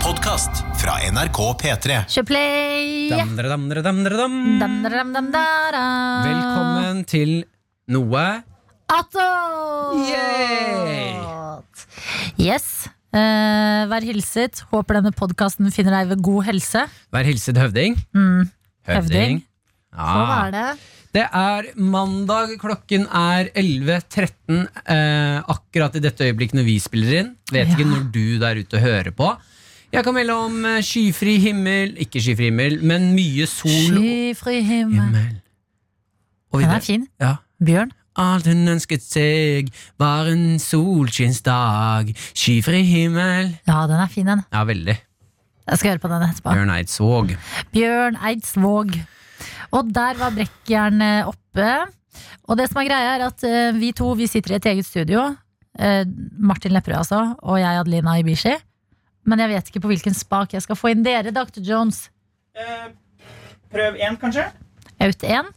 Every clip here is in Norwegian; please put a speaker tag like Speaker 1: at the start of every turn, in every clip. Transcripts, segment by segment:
Speaker 1: podkast fra NRK P3.
Speaker 2: Kjøplay!
Speaker 3: Dam, dere, dam, dere, dam, dere, dam.
Speaker 2: Dam, dam, dam, dara.
Speaker 3: Velkommen til noe
Speaker 2: Attåt!
Speaker 3: Yay!
Speaker 2: Yes. Eh, vær hilset. Håper denne podkasten finner deg ved god helse.
Speaker 3: Vær hilset høvding.
Speaker 2: Mm. Høvding. Hva
Speaker 3: Ja.
Speaker 2: er det?
Speaker 3: Det er mandag, klokken er 11.13 eh, akkurat i dette øyeblikk når vi spiller inn. Vet
Speaker 2: Ja.
Speaker 3: ikke når du der ute hører på. Jeg kan melde om eh, skyfri himmel, ikke skyfri himmel, men mye sol og
Speaker 2: Skyfri himmel.
Speaker 3: himmel. Og
Speaker 2: Den er
Speaker 3: videre.
Speaker 2: fin.
Speaker 3: Ja.
Speaker 2: Bjørn.
Speaker 3: Alt hun ønsket seg, var en solskinnsdag, skyfri himmel.
Speaker 2: Ja, den er fin, den.
Speaker 3: Ja, veldig.
Speaker 2: Jeg skal høre på den etterpå.
Speaker 3: Bjørn Eidsvåg.
Speaker 2: Bjørn Eidsvåg. Og der var brekkjernet oppe. Og det som er greia, er at eh, vi to vi sitter i et eget studio. Eh, Martin Lepperød, altså, og jeg, Adelina Ibishi. Men jeg vet ikke på hvilken spak jeg skal få inn dere, Dr. Jones.
Speaker 4: Eh, prøv én, kanskje?
Speaker 2: Out 1.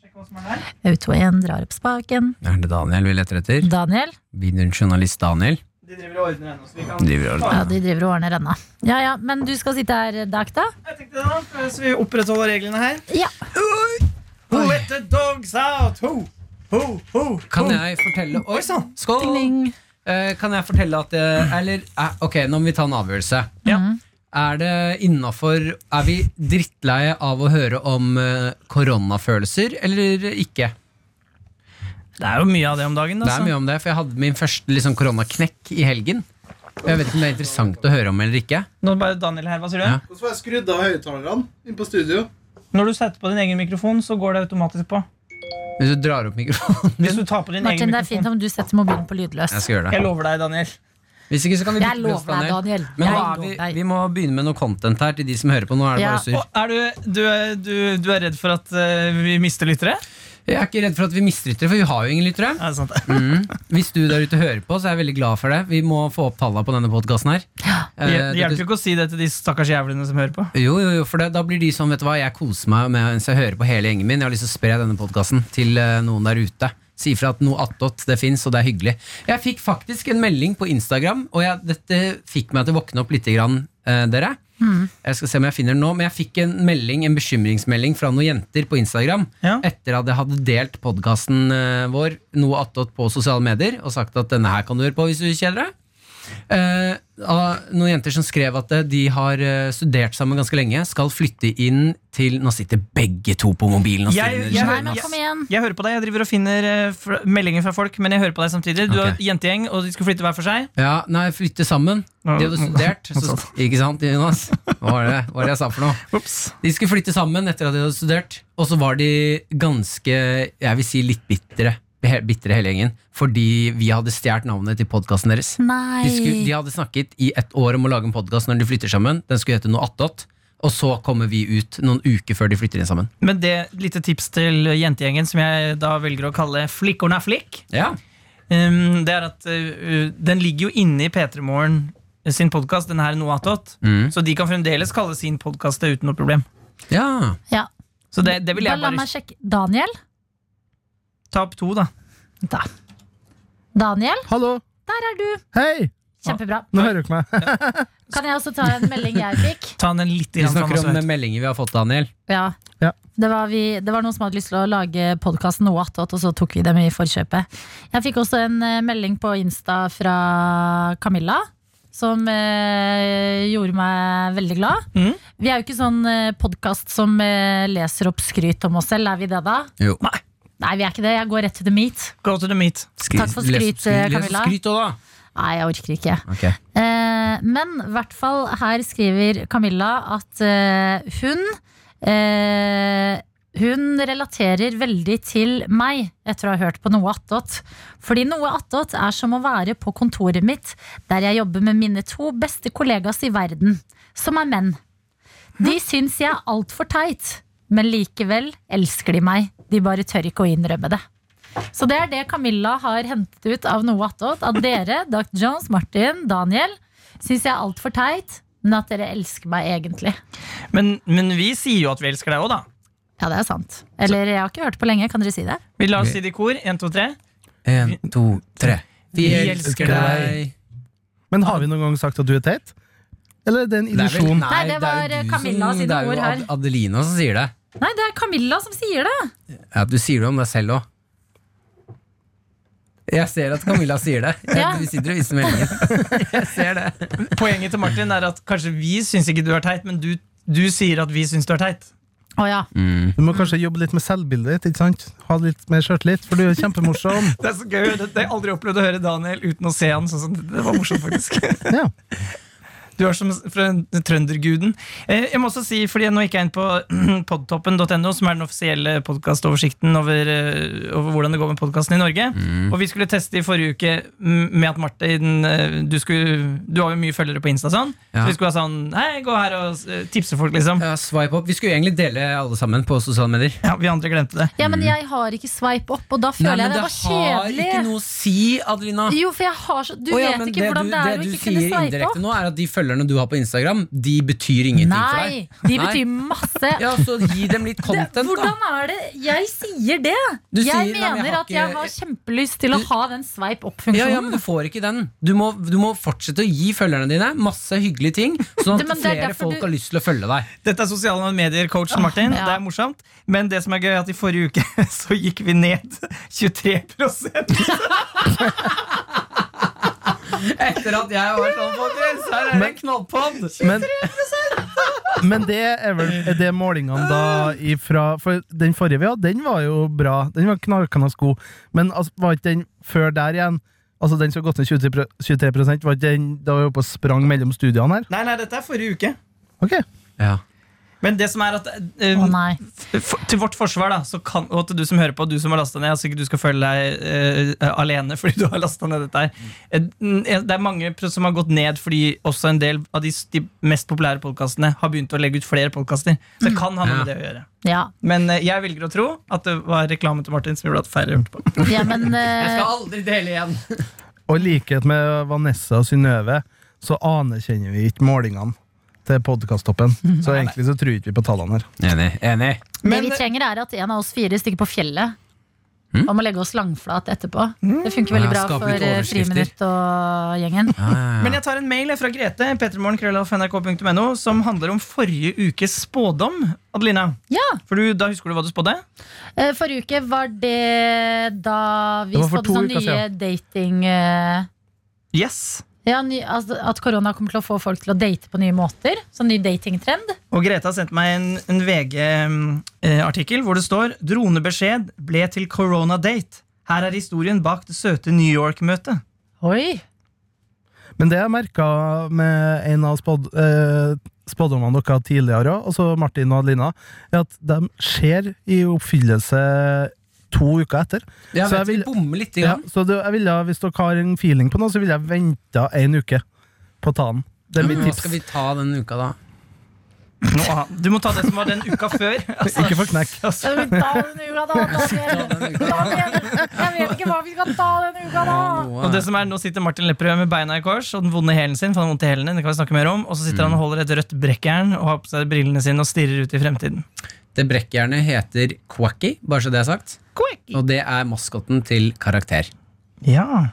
Speaker 4: Sjekk hva som er der.
Speaker 2: Out 1 drar opp spaken.
Speaker 3: Er det Daniel vi leter etter?
Speaker 2: Daniel.
Speaker 3: Videojournalist Daniel.
Speaker 4: De driver og ordner ennå, så vi kan
Speaker 3: Driver og ordner.
Speaker 2: Ja, de driver og ordner ennå. Ja ja, men du skal sitte her, Dakta.
Speaker 4: Jeg tenkte det da, eh, Så vi opprettholder reglene her.
Speaker 2: Ja.
Speaker 4: Who let the dogs out? Ho, ho, ho,
Speaker 3: Kan
Speaker 4: ho.
Speaker 3: jeg fortelle Oi sånn!
Speaker 4: Oi sann!
Speaker 3: Skål! Eh, kan jeg fortelle at eh, Eller eh, ok, nå må vi ta en avgjørelse. Mm-hmm.
Speaker 4: Ja.
Speaker 3: Er det innafor Er vi drittleie av å høre om eh, koronafølelser eller ikke?
Speaker 4: Det er jo mye av det om dagen. altså.
Speaker 3: Det
Speaker 2: Altså.
Speaker 3: er mye om det, for jeg hadde min første liksom, koronaknekk i helgen. Og Jeg vet ikke om det er interessant å høre om eller ikke.
Speaker 4: Nå bare Daniel her, hva sier du?
Speaker 3: Ja.
Speaker 5: Og så får jeg skrudd av høyttalerne inn på studio.
Speaker 4: Når du setter på din egen mikrofon, så går det automatisk på.
Speaker 3: Hvis du drar opp mikrofonen
Speaker 4: Hvis du tar på din
Speaker 2: Martin,
Speaker 4: egen
Speaker 2: det er fint
Speaker 4: mikrofon.
Speaker 2: om du setter mobilen på lydløs.
Speaker 3: Jeg skal gjøre det.
Speaker 4: Jeg lover deg, Daniel.
Speaker 3: Hvis ikke, så kan vi
Speaker 2: Jeg
Speaker 3: bytte plass,
Speaker 2: lover deg, Daniel.
Speaker 3: Men
Speaker 2: Jeg
Speaker 3: nå er vi,
Speaker 2: lover deg.
Speaker 3: vi må begynne med noe content her til de som hører på. Nå er det
Speaker 2: Ja.
Speaker 3: bare surr.
Speaker 4: Og er du, du, er- du, du er redd for at eh, vi mister lyttere?
Speaker 3: Jeg er ikke redd for at vi mister lyttere, for vi har jo ingen lyttere.
Speaker 4: Er det sant?
Speaker 3: Mm. Hvis du der ute hører på, så er jeg veldig glad for det. Vi må få opp tallene på denne podkasten her. Eh,
Speaker 4: Det
Speaker 3: det
Speaker 4: hjelper
Speaker 3: bes-
Speaker 4: jo ikke å si det til de stakkars jævlene som hører på.
Speaker 3: jo, jo, jo, for det, Da blir de sånn, vet du hva, jeg koser meg mens jeg hører på hele gjengen min. Jeg har lyst til å spre denne podkasten til eh, noen der ute. Si ifra at noe attåt, det fins, og det er hyggelig. Jeg fikk faktisk en melding på Instagram, og jeg, dette fikk meg til å våkne opp litt, grann, eh, dere. Jeg skal se om jeg finner den nå, men jeg fikk en melding, en bekymringsmelding fra noen jenter på Instagram
Speaker 4: Ja.
Speaker 3: etter at jeg hadde delt podkasten vår noe attåt på sosiale medier og sagt at denne her kan du høre på hvis du kjeder deg. Eh, av noen jenter som skrev at eh, de har eh, studert sammen ganske lenge, skal flytte inn til Nå sitter begge to på mobilen og
Speaker 4: Jeg-
Speaker 3: finner
Speaker 4: jeg-
Speaker 2: Nei,
Speaker 3: skjermen,
Speaker 2: men
Speaker 3: ass.
Speaker 2: kom igjen.
Speaker 4: Jeg hører på deg, jeg driver og finner eh, fra- meldinger fra folk, men jeg hører på deg samtidig. Du
Speaker 3: Ok.
Speaker 4: har jentegjeng, og de skal flytte hver for seg.
Speaker 3: Ja, nei, flytte sammen. De hadde studert. Så, ikke sant, Jonas? Hva var det, hva var det jeg sa for noe? De skulle flytte sammen etter at de hadde studert, og så var de ganske, jeg vil si litt bitre, he- bitre hele gjengen, fordi vi hadde stjålet navnet til podkasten deres. De, skulle, de
Speaker 2: Nei.
Speaker 3: hadde snakket i ett år om å lage en podkast når de flytter sammen. Den skulle hete noe attåt. Og så kommer vi ut noen uker før de flytter inn sammen.
Speaker 4: Men det lite tips til jentegjengen, som jeg da velger å kalle Flikkorna flikk,
Speaker 3: Ja,
Speaker 4: um, det er at uh, den ligger jo inne i P3 Morgen eh, sin podkast, den her noe attåt.
Speaker 3: Mm.
Speaker 4: Så de kan fremdeles kalle sin podkast det uten noe problem.
Speaker 3: ja.
Speaker 2: Ja.
Speaker 4: Så det, Eh, det vil
Speaker 2: Da
Speaker 4: jeg
Speaker 2: la
Speaker 4: bare
Speaker 2: meg sjekke. Daniel?
Speaker 4: ta opp to, da.
Speaker 2: Da. Daniel,
Speaker 6: Hallo.
Speaker 2: der er du.
Speaker 6: Hei!
Speaker 2: Kjempebra.
Speaker 6: Nå hører dere meg.
Speaker 2: Kan jeg også ta en melding jeg fikk?
Speaker 4: Ta den litt
Speaker 3: Vi
Speaker 4: grann fram,
Speaker 3: snakker
Speaker 4: også,
Speaker 3: om eh,
Speaker 4: vet du.
Speaker 3: meldinger vi har fått, Daniel.
Speaker 2: Ja.
Speaker 6: Ja.
Speaker 2: Det, var vi, det var noen som hadde lyst til å lage podkasten noe attåt, og så tok vi dem i forkjøpet. Jeg fikk også en eh, melding på Insta fra Camilla. Som eh, gjorde meg veldig glad.
Speaker 4: Mhm.
Speaker 2: Vi er jo ikke sånn eh, podkast som eh, leser opp skryt om oss selv, er vi det da?
Speaker 3: Jo.
Speaker 2: Nei, vi er ikke det. Jeg går rett til the meat.
Speaker 4: Go to the meat.
Speaker 2: Takk for skryt, eh, Camilla.
Speaker 3: Skryt òg, da.
Speaker 2: Nei, jeg orker ikke.
Speaker 3: Ok.
Speaker 2: Eh, men i hvert fall her skriver Camilla at eh, hun eh, Hun relaterer veldig til meg etter å ha hørt på Noe attåt. Fordi Noe attåt er som å være på kontoret mitt, der jeg jobber med mine to beste kollegas i verden, som er menn. De syns jeg er altfor teit, men likevel elsker de meg. De bare tør ikke å innrømme det. Så det er det Camilla har hentet ut av noe attåt. At dere, Dr. Jones, Martin, Daniel, syns jeg er altfor teit, men at dere elsker meg egentlig.
Speaker 4: Men, men vi sier jo at vi elsker deg òg, da.
Speaker 2: Ja, det er sant. Eller jeg har ikke hørt på lenge, kan dere si det?
Speaker 4: Vi lar oss si det i kor. Én, to, tre.
Speaker 3: En, to, tre.
Speaker 4: Vi elsker deg.
Speaker 6: Men har vi noen gang sagt at du er teit? Eller er det en
Speaker 3: Det er vel-
Speaker 6: illusjon?
Speaker 2: Nei, det var eh,
Speaker 3: er jo du
Speaker 2: Camilla
Speaker 3: som-
Speaker 2: sine
Speaker 3: det er jo
Speaker 2: ord her.
Speaker 3: Ad- Adelina som sier det.
Speaker 2: Nei, det er Camilla som sier det!
Speaker 3: Ja, du sier det om deg selv òg. Jeg ser at Camilla sier det.
Speaker 2: Ja.
Speaker 3: Du sitter og viser meldingen. Jeg ser det.
Speaker 4: Poenget til Martin er at kanskje vi syns ikke du er teit, men du, du sier at vi syns du er teit.
Speaker 2: Å ja.
Speaker 6: Du må kanskje jobbe litt med selvbildet ditt. ikke sant? Ha litt mer sjøltillit, for du er kjempemorsom.
Speaker 4: Det er så gøy å høre. Det har jeg aldri opplevd å høre Daniel uten å se han. Sånn, som- det var morsomt, faktisk.
Speaker 6: Ja.
Speaker 4: Du er som fra trønderguden. Eh, Jeg må også si, fordi jeg nå gikk jeg inn på podtoppen.no, som er den offisielle podkastoversikten over, eh, over hvordan det går med podkasten i Norge.
Speaker 3: Mm.
Speaker 4: Og vi skulle teste i forrige uke mm, med at Martin eh, Du, skulle, du har jo mye følgere på Insta, sånn.
Speaker 3: Ja.
Speaker 4: Så vi skulle ha sånn Hei, gå her og eh, tipse folk, liksom.
Speaker 3: Ja, swipe opp. Vi skulle jo egentlig dele alle sammen på sosiale medier.
Speaker 4: Ja, vi andre glemte det.
Speaker 2: ja, men jeg har ikke sveip opp, og da føler
Speaker 3: Nei,
Speaker 2: jeg
Speaker 3: men
Speaker 2: det var kjedelig.
Speaker 3: har ikke noe å si, Adelina.
Speaker 2: Jo, for jeg har så Du
Speaker 3: Å ja,
Speaker 2: vet
Speaker 3: men
Speaker 2: ikke hvordan det er å
Speaker 3: du
Speaker 2: ikke
Speaker 3: sier
Speaker 2: kunne sveipe
Speaker 3: indirekte
Speaker 2: opp.
Speaker 3: nå, er at de følgerne du har på Instagram, de betyr ingenting for
Speaker 2: Nei,
Speaker 3: deg.
Speaker 2: de
Speaker 3: Nei.
Speaker 2: betyr masse.
Speaker 3: Ja, så gi dem litt
Speaker 2: Det,
Speaker 3: content, da.
Speaker 2: hvordan er det Jeg sier det!
Speaker 3: Du
Speaker 2: jeg
Speaker 3: sier, nei, men jeg
Speaker 2: mener
Speaker 3: har
Speaker 2: at jeg
Speaker 3: ikke-
Speaker 2: har kjempelyst til å ha den sveip
Speaker 3: Ja, ja, men
Speaker 2: opp-funksjonen.
Speaker 3: Du får ikke den. Du må, du må fortsette å gi følgerne dine masse hyggelige ting, sånn
Speaker 2: Det- men
Speaker 3: at
Speaker 2: det er
Speaker 3: flere
Speaker 2: derfor
Speaker 3: folk
Speaker 2: du-
Speaker 3: har lyst til å følge deg.
Speaker 4: Dette er sosiale medier-coachen Martin.
Speaker 2: ja.
Speaker 4: Det er morsomt. Men det som er gøy, er at i forrige uke så gikk vi ned 23
Speaker 3: Etter at jeg var sånn, folkens, her er det en knallpod!
Speaker 6: Men, men det er vel er det målingene da ifra For den forrige vi hadde, den var jo bra. Den var knakende god. Men altså, var ikke den før der igjen? Altså Den som har gått ned 23, pro- 23 var ikke den da vi var oppe og sprang mellom studiene her?
Speaker 4: Nei, nei, dette er forrige uke.
Speaker 6: Ok,
Speaker 3: Ja.
Speaker 4: Men det som er at eh,
Speaker 2: Å nei.
Speaker 4: for, Til vårt forsvar, da, så kan, og til du som hører på, du som har lasta ned Altså ikke du skal føle deg eh, alene fordi du har lasta ned dette her. Eh, Det er mange pro- som har gått ned fordi også en del av de, s- de mest populære podkastene har begynt å legge ut flere podkaster. Så det kan ha noe med det å gjøre.
Speaker 2: Ja,
Speaker 4: Men eh, jeg velger å tro at det var reklamen til Martin som gjorde at færre hørte på.
Speaker 2: ja men
Speaker 3: Jeg skal
Speaker 2: eh,
Speaker 3: aldri dele igjen.
Speaker 6: Og i likhet med Vanessa og Synnøve, så anerkjenner vi ikke målingene til podkasttoppen. Så egentlig så tror ikke vi på tallene her.
Speaker 3: Enig. enig
Speaker 2: Det
Speaker 4: Men-
Speaker 2: vi trenger, er at en av oss fire stikker på fjellet. Og må legge oss langflat etterpå. Det funker
Speaker 3: Ja,
Speaker 2: veldig bra
Speaker 3: skape litt
Speaker 2: for eh,
Speaker 3: overskrifter.
Speaker 2: Friminutt og gjengen.
Speaker 4: Men jeg tar en mail jeg, fra Grete petremorgen.nrk.no, som handler om forrige ukes spådom. Adelina,
Speaker 2: Ja,
Speaker 4: for du, da husker du hva du spådde?
Speaker 2: eh, Forrige uke var det da vi
Speaker 6: Det var for
Speaker 2: spådde
Speaker 6: to
Speaker 2: sånn
Speaker 6: uker
Speaker 2: nye dating eh,
Speaker 4: Yes.
Speaker 2: ja, ny, altså, At korona kommer til å få folk til å date på nye måter. Sånn ny datingtrend.
Speaker 4: Og Grete har sendt meg en, en VG-artikkel hvor det står 'Dronebeskjed ble til koronadate'. Her er historien bak det søte New York-møtet.
Speaker 2: Oi!
Speaker 6: Men det jeg merka med en av spåd, eh, spådommene dere hadde tidligere òg, altså Martin og Adelina, er at de skjer i oppfyllelse to uker etter.
Speaker 3: Jeg
Speaker 6: Så jeg
Speaker 3: vet vi
Speaker 6: vil-
Speaker 3: bommer litt.
Speaker 6: Ja,
Speaker 3: Grann.
Speaker 6: så det, jeg ville, hvis dere har en feeling på noe, så ville jeg venta en uke på å ta den. Det er mitt
Speaker 3: Hva
Speaker 6: tips.
Speaker 3: Mm, skal vi ta den uka, da?
Speaker 4: Nå, aha, du må ta det som var den uka før. Altså,
Speaker 6: Ikke få knekk.
Speaker 2: Ta denne uka, da, Daniel. Daniel, Jeg vet ikke hva vi skal ta denne uka, da!
Speaker 4: og det som er, Nå sitter Martin Lepperød med beina i kors og den vonde hælen sin. for han har vondt i hælene, det kan vi snakke mer om, Og så sitter han og holder et rødt brekkjern og har på seg brillene sine og stirrer ut i fremtiden.
Speaker 3: Det brekkjernet heter Quacky, bare så det er sagt.
Speaker 4: Quick.
Speaker 3: Og det er maskotten til karakter.
Speaker 4: Ja.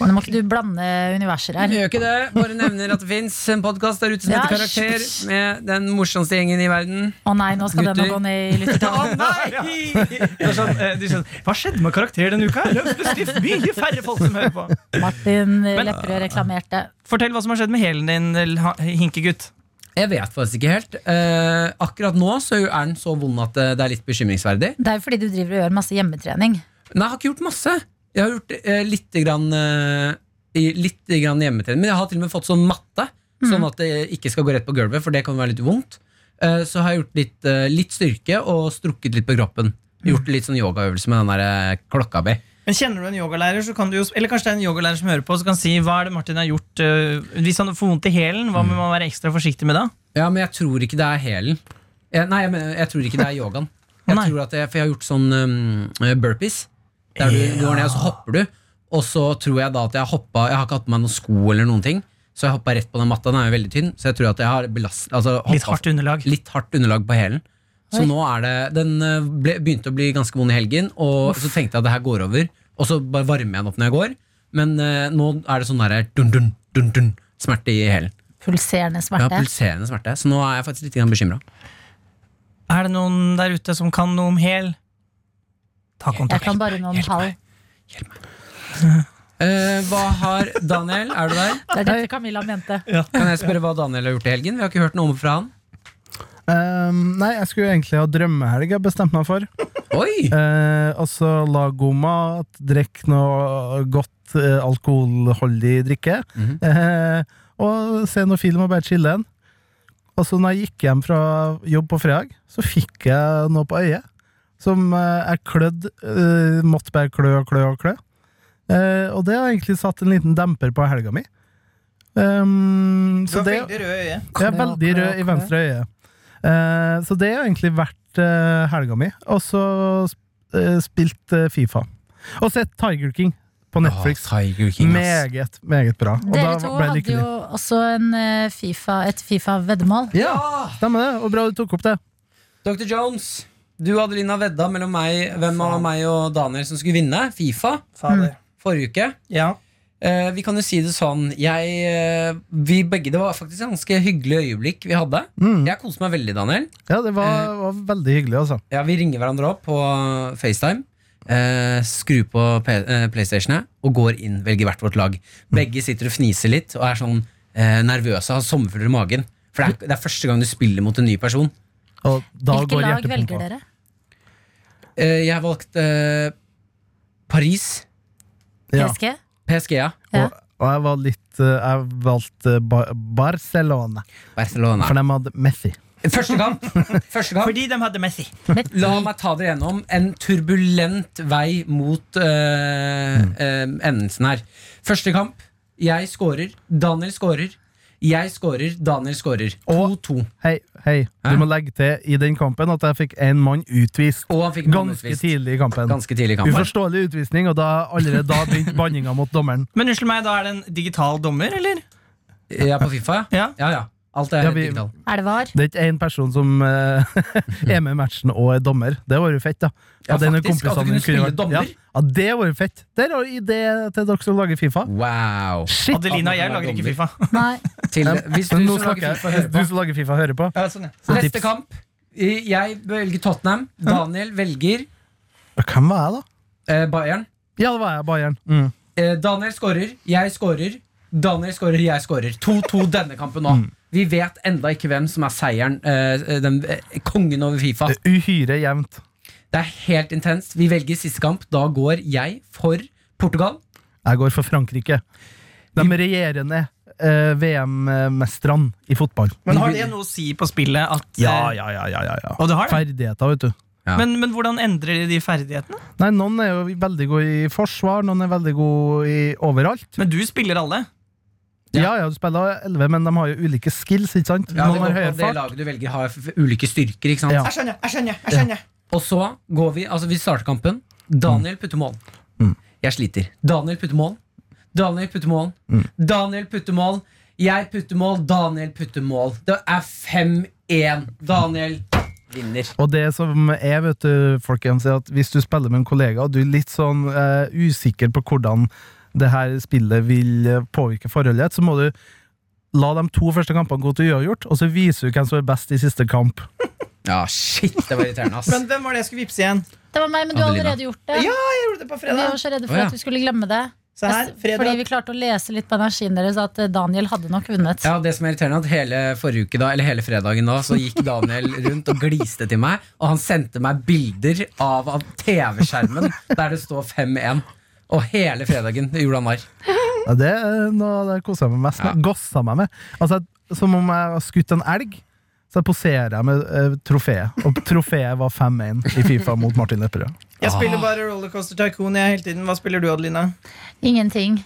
Speaker 2: Nå må ikke du blande universer her.
Speaker 3: Jeg gjør ikke det, bare nevner at det fins en podkast der ute som
Speaker 2: Ja,
Speaker 3: heter Karakter,
Speaker 2: shush.
Speaker 3: med den morsomste gjengen i verden.
Speaker 2: Å nei, nå skal den
Speaker 3: Gutter.
Speaker 2: gå ned i lyttertallet.
Speaker 4: Det er sånn, eh, de skjønner, Hva skjedde med karakter denne uka? Løp bestift mye færre folk som hører på.
Speaker 2: Martin Lepperød reklamerte.
Speaker 4: Fortell hva som har skjedd med hælen din, l- ha- hinkegutt.
Speaker 3: Jeg vet faktisk ikke helt. Eh, akkurat nå så er den så vond at eh, det er litt bekymringsverdig.
Speaker 2: Det er jo fordi du driver og gjør masse hjemmetrening.
Speaker 3: Nei, jeg har ikke gjort masse. Jeg har gjort eh, litt, grann, eh, i- litt grann hjemmetrening. Men jeg har til og med fått sånn matte, sånn at det ikke skal gå rett på gulvet, for det kan være litt vondt. Eh, så har jeg gjort litt, eh, litt styrke og strukket litt på kroppen. Gjort litt sånn yogaøvelse med den der eh, klokka mi.
Speaker 4: Men Kjenner du en yogalærer, så kan du jo, eller kanskje det er en yogalærer som hører på, så kan si hva er det Martin har gjort eh, Hvis han får vondt i hælen, hva må man være ekstra forsiktig med da?
Speaker 3: Ja, men jeg tror ikke det er hælen. Jeg- Nei, jeg, mener, jeg tror ikke det er yogaen. Jeg
Speaker 4: Nei.
Speaker 3: tror at jeg, for jeg har gjort sånn um, burpees. Der du går ned, og så hopper du. Og så tror jeg da at jeg hoppa Jeg har ikke hatt på meg noen sko eller noen ting. Så jeg hoppa rett på den matta. Den er jo veldig tynn. Så jeg tror at jeg har belast, altså,
Speaker 4: Litt
Speaker 3: hoppet-
Speaker 4: hardt underlag.
Speaker 3: litt hardt underlag på hælen. Så
Speaker 2: Oi.
Speaker 3: nå er det Den eh, ble, begynte å bli ganske vond i helgen, og så tenkte jeg at det her går over. Og så bare varmer jeg den opp når jeg går. Men eh, nå er det sånn derre dun-dun, dun-dun. Smerte i hælen.
Speaker 2: Pulserende
Speaker 3: Ja,
Speaker 2: smerte.
Speaker 3: pulserende smerte. Så nå er jeg faktisk litt bekymra.
Speaker 4: Er det noen der ute som kan noe om hæl? Ta
Speaker 2: jeg
Speaker 4: kontakt.
Speaker 2: kan bare noen
Speaker 3: Hjelp
Speaker 2: halv.
Speaker 3: meg. Eh, hva har Daniel Er du der?
Speaker 2: Det er dette Camilla mente.
Speaker 3: Kan jeg spørre hva Daniel har gjort i helgen? Vi har ikke hørt noe om fra han.
Speaker 6: Ehm, nei, jeg skulle egentlig ha drømmehelg, jeg bestemte meg for.
Speaker 3: Oi!
Speaker 6: Eh, altså lag god mat, drikk noe godt eh, alkoholholdig drikke.
Speaker 3: Mhm.
Speaker 6: eh, og se noe film og bare chille en. Og så når jeg gikk hjem fra jobb på fredag, så fikk jeg noe på øyet. Som eh, jeg klødd, eh, måtte bare klø og klø og klø. Eh, og det har egentlig satt en liten demper på helga mi. Ehm,
Speaker 4: Du
Speaker 6: så
Speaker 4: har
Speaker 6: det,
Speaker 4: veldig røde øye.
Speaker 6: jeg er veldig rød i venstre øye. Eh, så det har egentlig vært eh, helga mi. Og så eh, spilt eh, Fifa. Og sett Tiger King på Netflix.
Speaker 3: Åh, Ah, Tiger King, ass.
Speaker 6: meget, meget bra. Og
Speaker 2: Dere to
Speaker 6: da ble jeg
Speaker 2: hadde
Speaker 6: lykkelig.
Speaker 2: jo også en eh, FIFA, et Fifa-veddemål.
Speaker 6: Ja, stemmer det. Og bra du tok opp det.
Speaker 3: Dr. Jones, du og Adelina vedda mellom meg, hvem av meg og Daniel som skulle vinne Fifa
Speaker 4: Fader.
Speaker 3: forrige uke.
Speaker 4: Mm. Ja.
Speaker 3: Eh, vi kan jo si det sånn jeg, eh, vi begge, Det var faktisk et ganske hyggelig øyeblikk vi hadde.
Speaker 6: Mm.
Speaker 3: Jeg koste meg veldig, Daniel.
Speaker 6: Ja, det
Speaker 2: Eh,
Speaker 6: var, var veldig hyggelig, altså.
Speaker 3: Ja, Vi ringer hverandre opp på FaceTime. Eh, skrur på P eh, PlayStationet og går inn, velger hvert vårt lag. Begge sitter og fniser litt og er sånn eh, nervøse og har sommerfugler i magen. For det er, det er første gang du spiller mot en ny person.
Speaker 6: Og da
Speaker 2: Hvilke
Speaker 6: går
Speaker 2: lag
Speaker 6: hjertepumpa.
Speaker 2: velger dere?
Speaker 3: Eh, jeg valgte eh, Paris.
Speaker 6: Ja.
Speaker 2: PSG?
Speaker 3: PSG, ja.
Speaker 2: Ja.
Speaker 6: Og, og jeg var litt eh, Jeg valgte Ba- Barcelona,
Speaker 3: Barcelona.
Speaker 6: for de hadde Messi.
Speaker 3: Første kamp! Første kamp.
Speaker 4: Fordi de hadde Messi.
Speaker 3: La meg ta dere gjennom en turbulent vei mot eh,
Speaker 6: Mm.
Speaker 3: eh, endelsen her. Første kamp. Jeg scorer. Daniel scorer. Jeg scorer. Daniel scorer.
Speaker 6: Og-
Speaker 3: 2-2.
Speaker 6: Hei, hei,
Speaker 3: Hæ?
Speaker 6: du må legge til i den kampen at jeg fikk én mann utvist
Speaker 3: Og han fikk
Speaker 6: ganske
Speaker 3: manusvist.
Speaker 6: tidlig i kampen.
Speaker 3: Ganske tidlig i kampen.
Speaker 6: Uforståelig utvisning, og da, allerede da begynte banninga mot dommeren.
Speaker 4: Men unnskyld meg, da er det en digital dommer, eller?
Speaker 3: Ja, på Fifa, ja.
Speaker 4: Ja.
Speaker 3: ja, ja. Alt er
Speaker 6: Ja, vi-
Speaker 3: digital.
Speaker 2: Er det VAR?
Speaker 6: Det er ikke én person som eh, er med i matchen og er dommer. Det var jo fett, da.
Speaker 3: Ja,
Speaker 6: At en av
Speaker 3: faktisk, at du
Speaker 6: kompisene
Speaker 3: kunne spille
Speaker 6: vært-
Speaker 3: dommer.
Speaker 6: Ja, ja, det var jo fett. Der har du idé til dere som lager Fifa.
Speaker 3: Wow.
Speaker 6: Shit!
Speaker 4: Adelina og jeg lager ikke Fifa.
Speaker 2: Nei.
Speaker 3: Til, hvis du
Speaker 6: Men nå
Speaker 3: som
Speaker 6: snakker
Speaker 3: lager
Speaker 6: jeg.
Speaker 3: FIFA hører
Speaker 6: Hvis du
Speaker 3: på.
Speaker 6: som lager Fifa, hører på.
Speaker 4: Ja, sånn, ja.
Speaker 6: Så
Speaker 3: Neste
Speaker 6: tips.
Speaker 3: kamp. Jeg velger Tottenham. Daniel velger
Speaker 6: Hvem var jeg, da?
Speaker 3: eh, Bayern.
Speaker 6: Ja, det var jeg. Bayern. Mm.
Speaker 3: Eh, Daniel scorer, jeg scorer. Daniel scorer, jeg scorer. 2-2 denne kampen nå. Vi vet enda ikke hvem som er seieren. Eh, den, eh, kongen over Fifa.
Speaker 6: Det er Uhyre jevnt.
Speaker 3: Det er helt intenst. Vi velger siste kamp. Da går jeg for Portugal.
Speaker 6: Jeg går for Frankrike. De regjerende eh, VM-mesterne i fotball.
Speaker 4: Men har det noe å si på spillet at eh,
Speaker 6: ja, ja, ja, ja, ja.
Speaker 4: Og det har det?
Speaker 6: Ferdigheter, vet du.
Speaker 3: Ja.
Speaker 4: Men, men hvordan endrer de de ferdighetene?
Speaker 6: Nei, Noen er jo veldig gode i forsvar, noen er veldig gode i overalt.
Speaker 4: Men du spiller alle.
Speaker 6: Ja, ja, du spiller 11, men de har jo ulike skills. ikke sant?
Speaker 3: Ja, det
Speaker 6: noen
Speaker 3: går
Speaker 6: har
Speaker 3: på
Speaker 6: høyere
Speaker 3: at det
Speaker 6: fart.
Speaker 3: laget du velger, har f- ulike styrker. Ikke sant?
Speaker 6: Ja.
Speaker 4: Jeg skjønner, jeg skjønner, jeg skjønner.
Speaker 3: Og så går vi Altså, vi starter kampen. Daniel putter mål.
Speaker 6: Mm.
Speaker 3: Jeg sliter. Daniel putter mål. Daniel putter mål. Daniel putter mål. Jeg putter mål. Daniel putter mål. Det er 5-1. Daniel vinner.
Speaker 6: Og det som er, vet du, folkens, er at hvis du spiller med en kollega, og du er litt sånn eh, usikker på hvordan det her spillet vil eh, påvirke forholdet, ditt, så må du la de to første kampene gå til uavgjort, og så viser du hvem som er best i siste kamp.
Speaker 3: Ja, shit, det var irriterende, ass.
Speaker 4: Men hvem var det jeg skulle vippse igjen?
Speaker 2: Det var meg, men du har
Speaker 3: Adelina.
Speaker 2: allerede gjort det.
Speaker 4: Ja, jeg gjorde det på
Speaker 2: Vi var
Speaker 4: fredag.
Speaker 2: så redde
Speaker 3: Å,
Speaker 2: for
Speaker 3: ja.
Speaker 2: at vi skulle glemme det.
Speaker 4: Se her,
Speaker 2: Fordi
Speaker 4: fredag.
Speaker 2: vi klarte å lese litt på energien deres at eh, Daniel hadde nok vunnet.
Speaker 3: Ja, det som er irriterende er at Hele forrige uke da, eller hele fredagen da Så gikk Daniel rundt og gliste til meg, og han sendte meg bilder av, av TV-skjermen der det står 5-1. Og hele fredagen gjorde han narr.
Speaker 6: Ja, det er noe av det jeg koser meg mest med.
Speaker 3: Ja.
Speaker 6: Gosser meg med. Altså, jeg- som om jeg har skutt en elg, så poserer jeg med eh, trofeet. Og trofeet var 5-1 i Fifa mot Martin Lepperød.
Speaker 4: Jeg spiller bare Rollercoaster Tycoon jeg hele tiden. Hva spiller du, Adelina?
Speaker 2: Ingenting.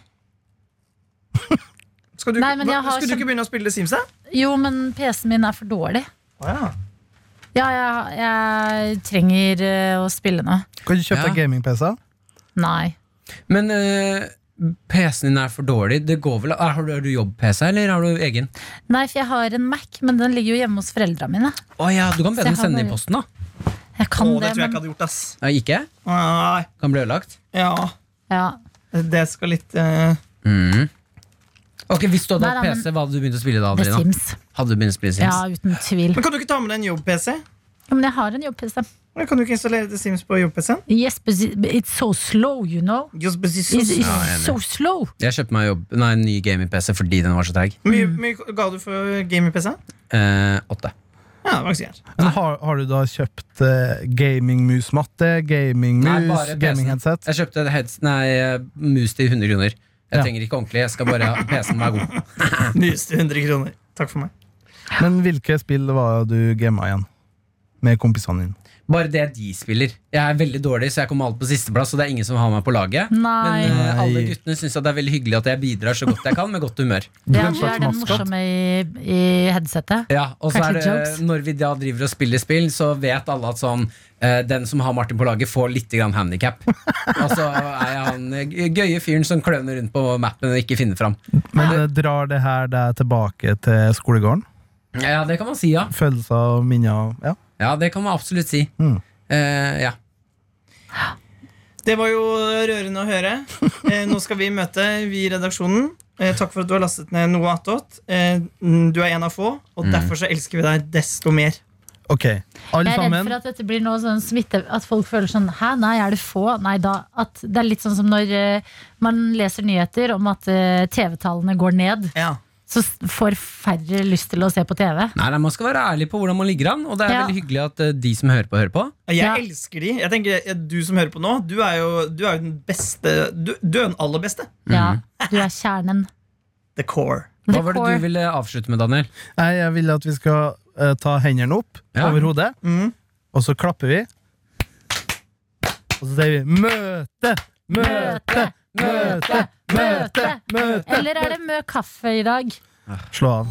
Speaker 4: Skal du,
Speaker 2: Nei, men jeg
Speaker 4: hva-
Speaker 2: har
Speaker 4: skulle du
Speaker 2: kjem-
Speaker 4: ikke begynne å spille Sims, da?
Speaker 2: Jo, men PC-en min er for dårlig.
Speaker 4: Å ja.
Speaker 2: Ja, jeg, jeg trenger eh, å spille nå.
Speaker 6: Kan du kjøpe
Speaker 3: Ja.
Speaker 6: deg gaming-PC?
Speaker 2: Nei.
Speaker 3: Men eh, PC-en din er for dårlig. Det går vel, er, har du, har du jobb-PC, eller har du egen?
Speaker 2: Nei, for jeg har en Mac, men den ligger jo hjemme hos foreldra mine.
Speaker 3: Å ja, Du kan be
Speaker 2: Så jeg
Speaker 3: dem
Speaker 2: har
Speaker 3: sende i
Speaker 2: bare-
Speaker 3: posten, da.
Speaker 2: Jeg kan
Speaker 4: Å, det
Speaker 2: det,
Speaker 4: tror jeg ikke
Speaker 2: men
Speaker 4: hadde gjort, ass.
Speaker 3: Nei, ikke?
Speaker 4: Nei,
Speaker 3: Kan bli ødelagt.
Speaker 4: ja.
Speaker 2: ja.
Speaker 4: Det skal litt eh,
Speaker 3: Mm. Ok, Hvis du hadde
Speaker 2: Nei,
Speaker 3: hatt
Speaker 2: nei, men-
Speaker 3: PC, hva hadde du begynt å spille da?
Speaker 2: The
Speaker 3: Adelina?
Speaker 2: Sims.
Speaker 3: Hadde du begynt å spille Sims?
Speaker 2: Ja, uten tvil.
Speaker 4: Men kan du ikke ta med deg en jobb-PC?
Speaker 2: Ja, men jeg har en jobb-PC.
Speaker 4: Kan du ikke installere The Sims på jobb-PC-en?
Speaker 2: Yes, but it's so slow, you know. It's,
Speaker 4: Hvor
Speaker 2: it's so slow.
Speaker 3: Jeg kjøpte meg jobb, nei, en ny gaming-PC fordi den var så treig.
Speaker 4: mye- mye ga du for gaming-PC?
Speaker 3: Eh, åtte.
Speaker 4: Ja, det var ikke så gærent.
Speaker 6: Men har, har du da kjøpt eh, gamingmusmatte,
Speaker 3: Nei,
Speaker 6: gamingmus,
Speaker 3: bare PC-en.
Speaker 6: gamingheadset?
Speaker 3: Jeg kjøpte et heads, nei, eh, mus til 100 kroner. Jeg
Speaker 6: Ja.
Speaker 3: trenger ikke ordentlig, jeg skal bare ha PC-en være god.
Speaker 4: Nyeste 100 kroner. Takk for meg.
Speaker 6: Men hvilke spill var du gama igjen? Med kompisene dine?
Speaker 3: Bare det de spiller. Jeg er veldig dårlig, så jeg kommer alltid på sisteplass, og det er ingen som har meg på laget.
Speaker 2: Nei.
Speaker 3: Men eh, alle
Speaker 6: Nei.
Speaker 3: guttene syns det er veldig hyggelig at jeg bidrar så godt jeg kan, med godt humør.
Speaker 6: Du
Speaker 2: Det
Speaker 6: er
Speaker 2: er,
Speaker 6: en
Speaker 2: du er
Speaker 6: slags
Speaker 2: den
Speaker 6: maskot.
Speaker 2: morsomme i, i headsetet.
Speaker 3: Ja, og så
Speaker 2: Kanskje
Speaker 3: er det
Speaker 2: jokes?
Speaker 3: Når vi da driver og spiller spill, så vet alle at sånn eh, Den som har Martin på laget, får litt grann handikap. Og så er jeg han eh, gøye fyren som kløner rundt på mappen og ikke finner fram.
Speaker 6: Men eh, drar det her deg tilbake til skolegården?
Speaker 3: Ja, det kan man si, ja.
Speaker 6: Følelser og minner? og- Ja.
Speaker 3: Ja, det kan man absolutt si.
Speaker 6: Mm.
Speaker 3: Eh, ja.
Speaker 4: Det var jo rørende å høre. Eh, nå skal vi møte vi i redaksjonen. Eh, takk for at du har lastet ned noe attåt. Eh, mm, du er en av få, og derfor så elsker vi deg desto mer.
Speaker 6: Ok, alle
Speaker 2: Jeg er redd
Speaker 6: sammen.
Speaker 2: for at dette blir noe sånn smitte At folk føler sånn Hæ, nei, er det få? Nei, da at Det er litt sånn som når eh, man leser nyheter om at eh, TV-tallene går ned,
Speaker 4: Ja.
Speaker 2: så s- får færre lyst til å se på TV.
Speaker 3: Nei, nei, Man skal være ærlig på hvordan man ligger an, og det er
Speaker 2: Ja.
Speaker 3: veldig hyggelig at eh, de som hører på, hører på.
Speaker 4: Jeg
Speaker 2: Ja.
Speaker 4: elsker de. Jeg tenker, eh, Du som hører på nå, du er jo, du er jo den beste du, du er den aller beste.
Speaker 2: Ja, du er kjernen.
Speaker 4: The core.
Speaker 2: The
Speaker 3: Hva var det
Speaker 2: core.
Speaker 3: du ville avslutte med, Daniel?
Speaker 6: Nei, jeg vil at vi skal eh, ta hendene opp
Speaker 3: Ja.
Speaker 6: over hodet,
Speaker 4: Mm.
Speaker 6: og så klapper vi. Og så sier vi møte, møte, møte, møte, møte.
Speaker 2: Eller er det mø kaffe i dag?
Speaker 6: Slå av.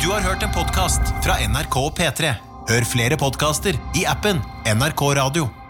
Speaker 1: Du har hørt en podkast fra NRK P3. Hør flere podkaster i appen NRK Radio.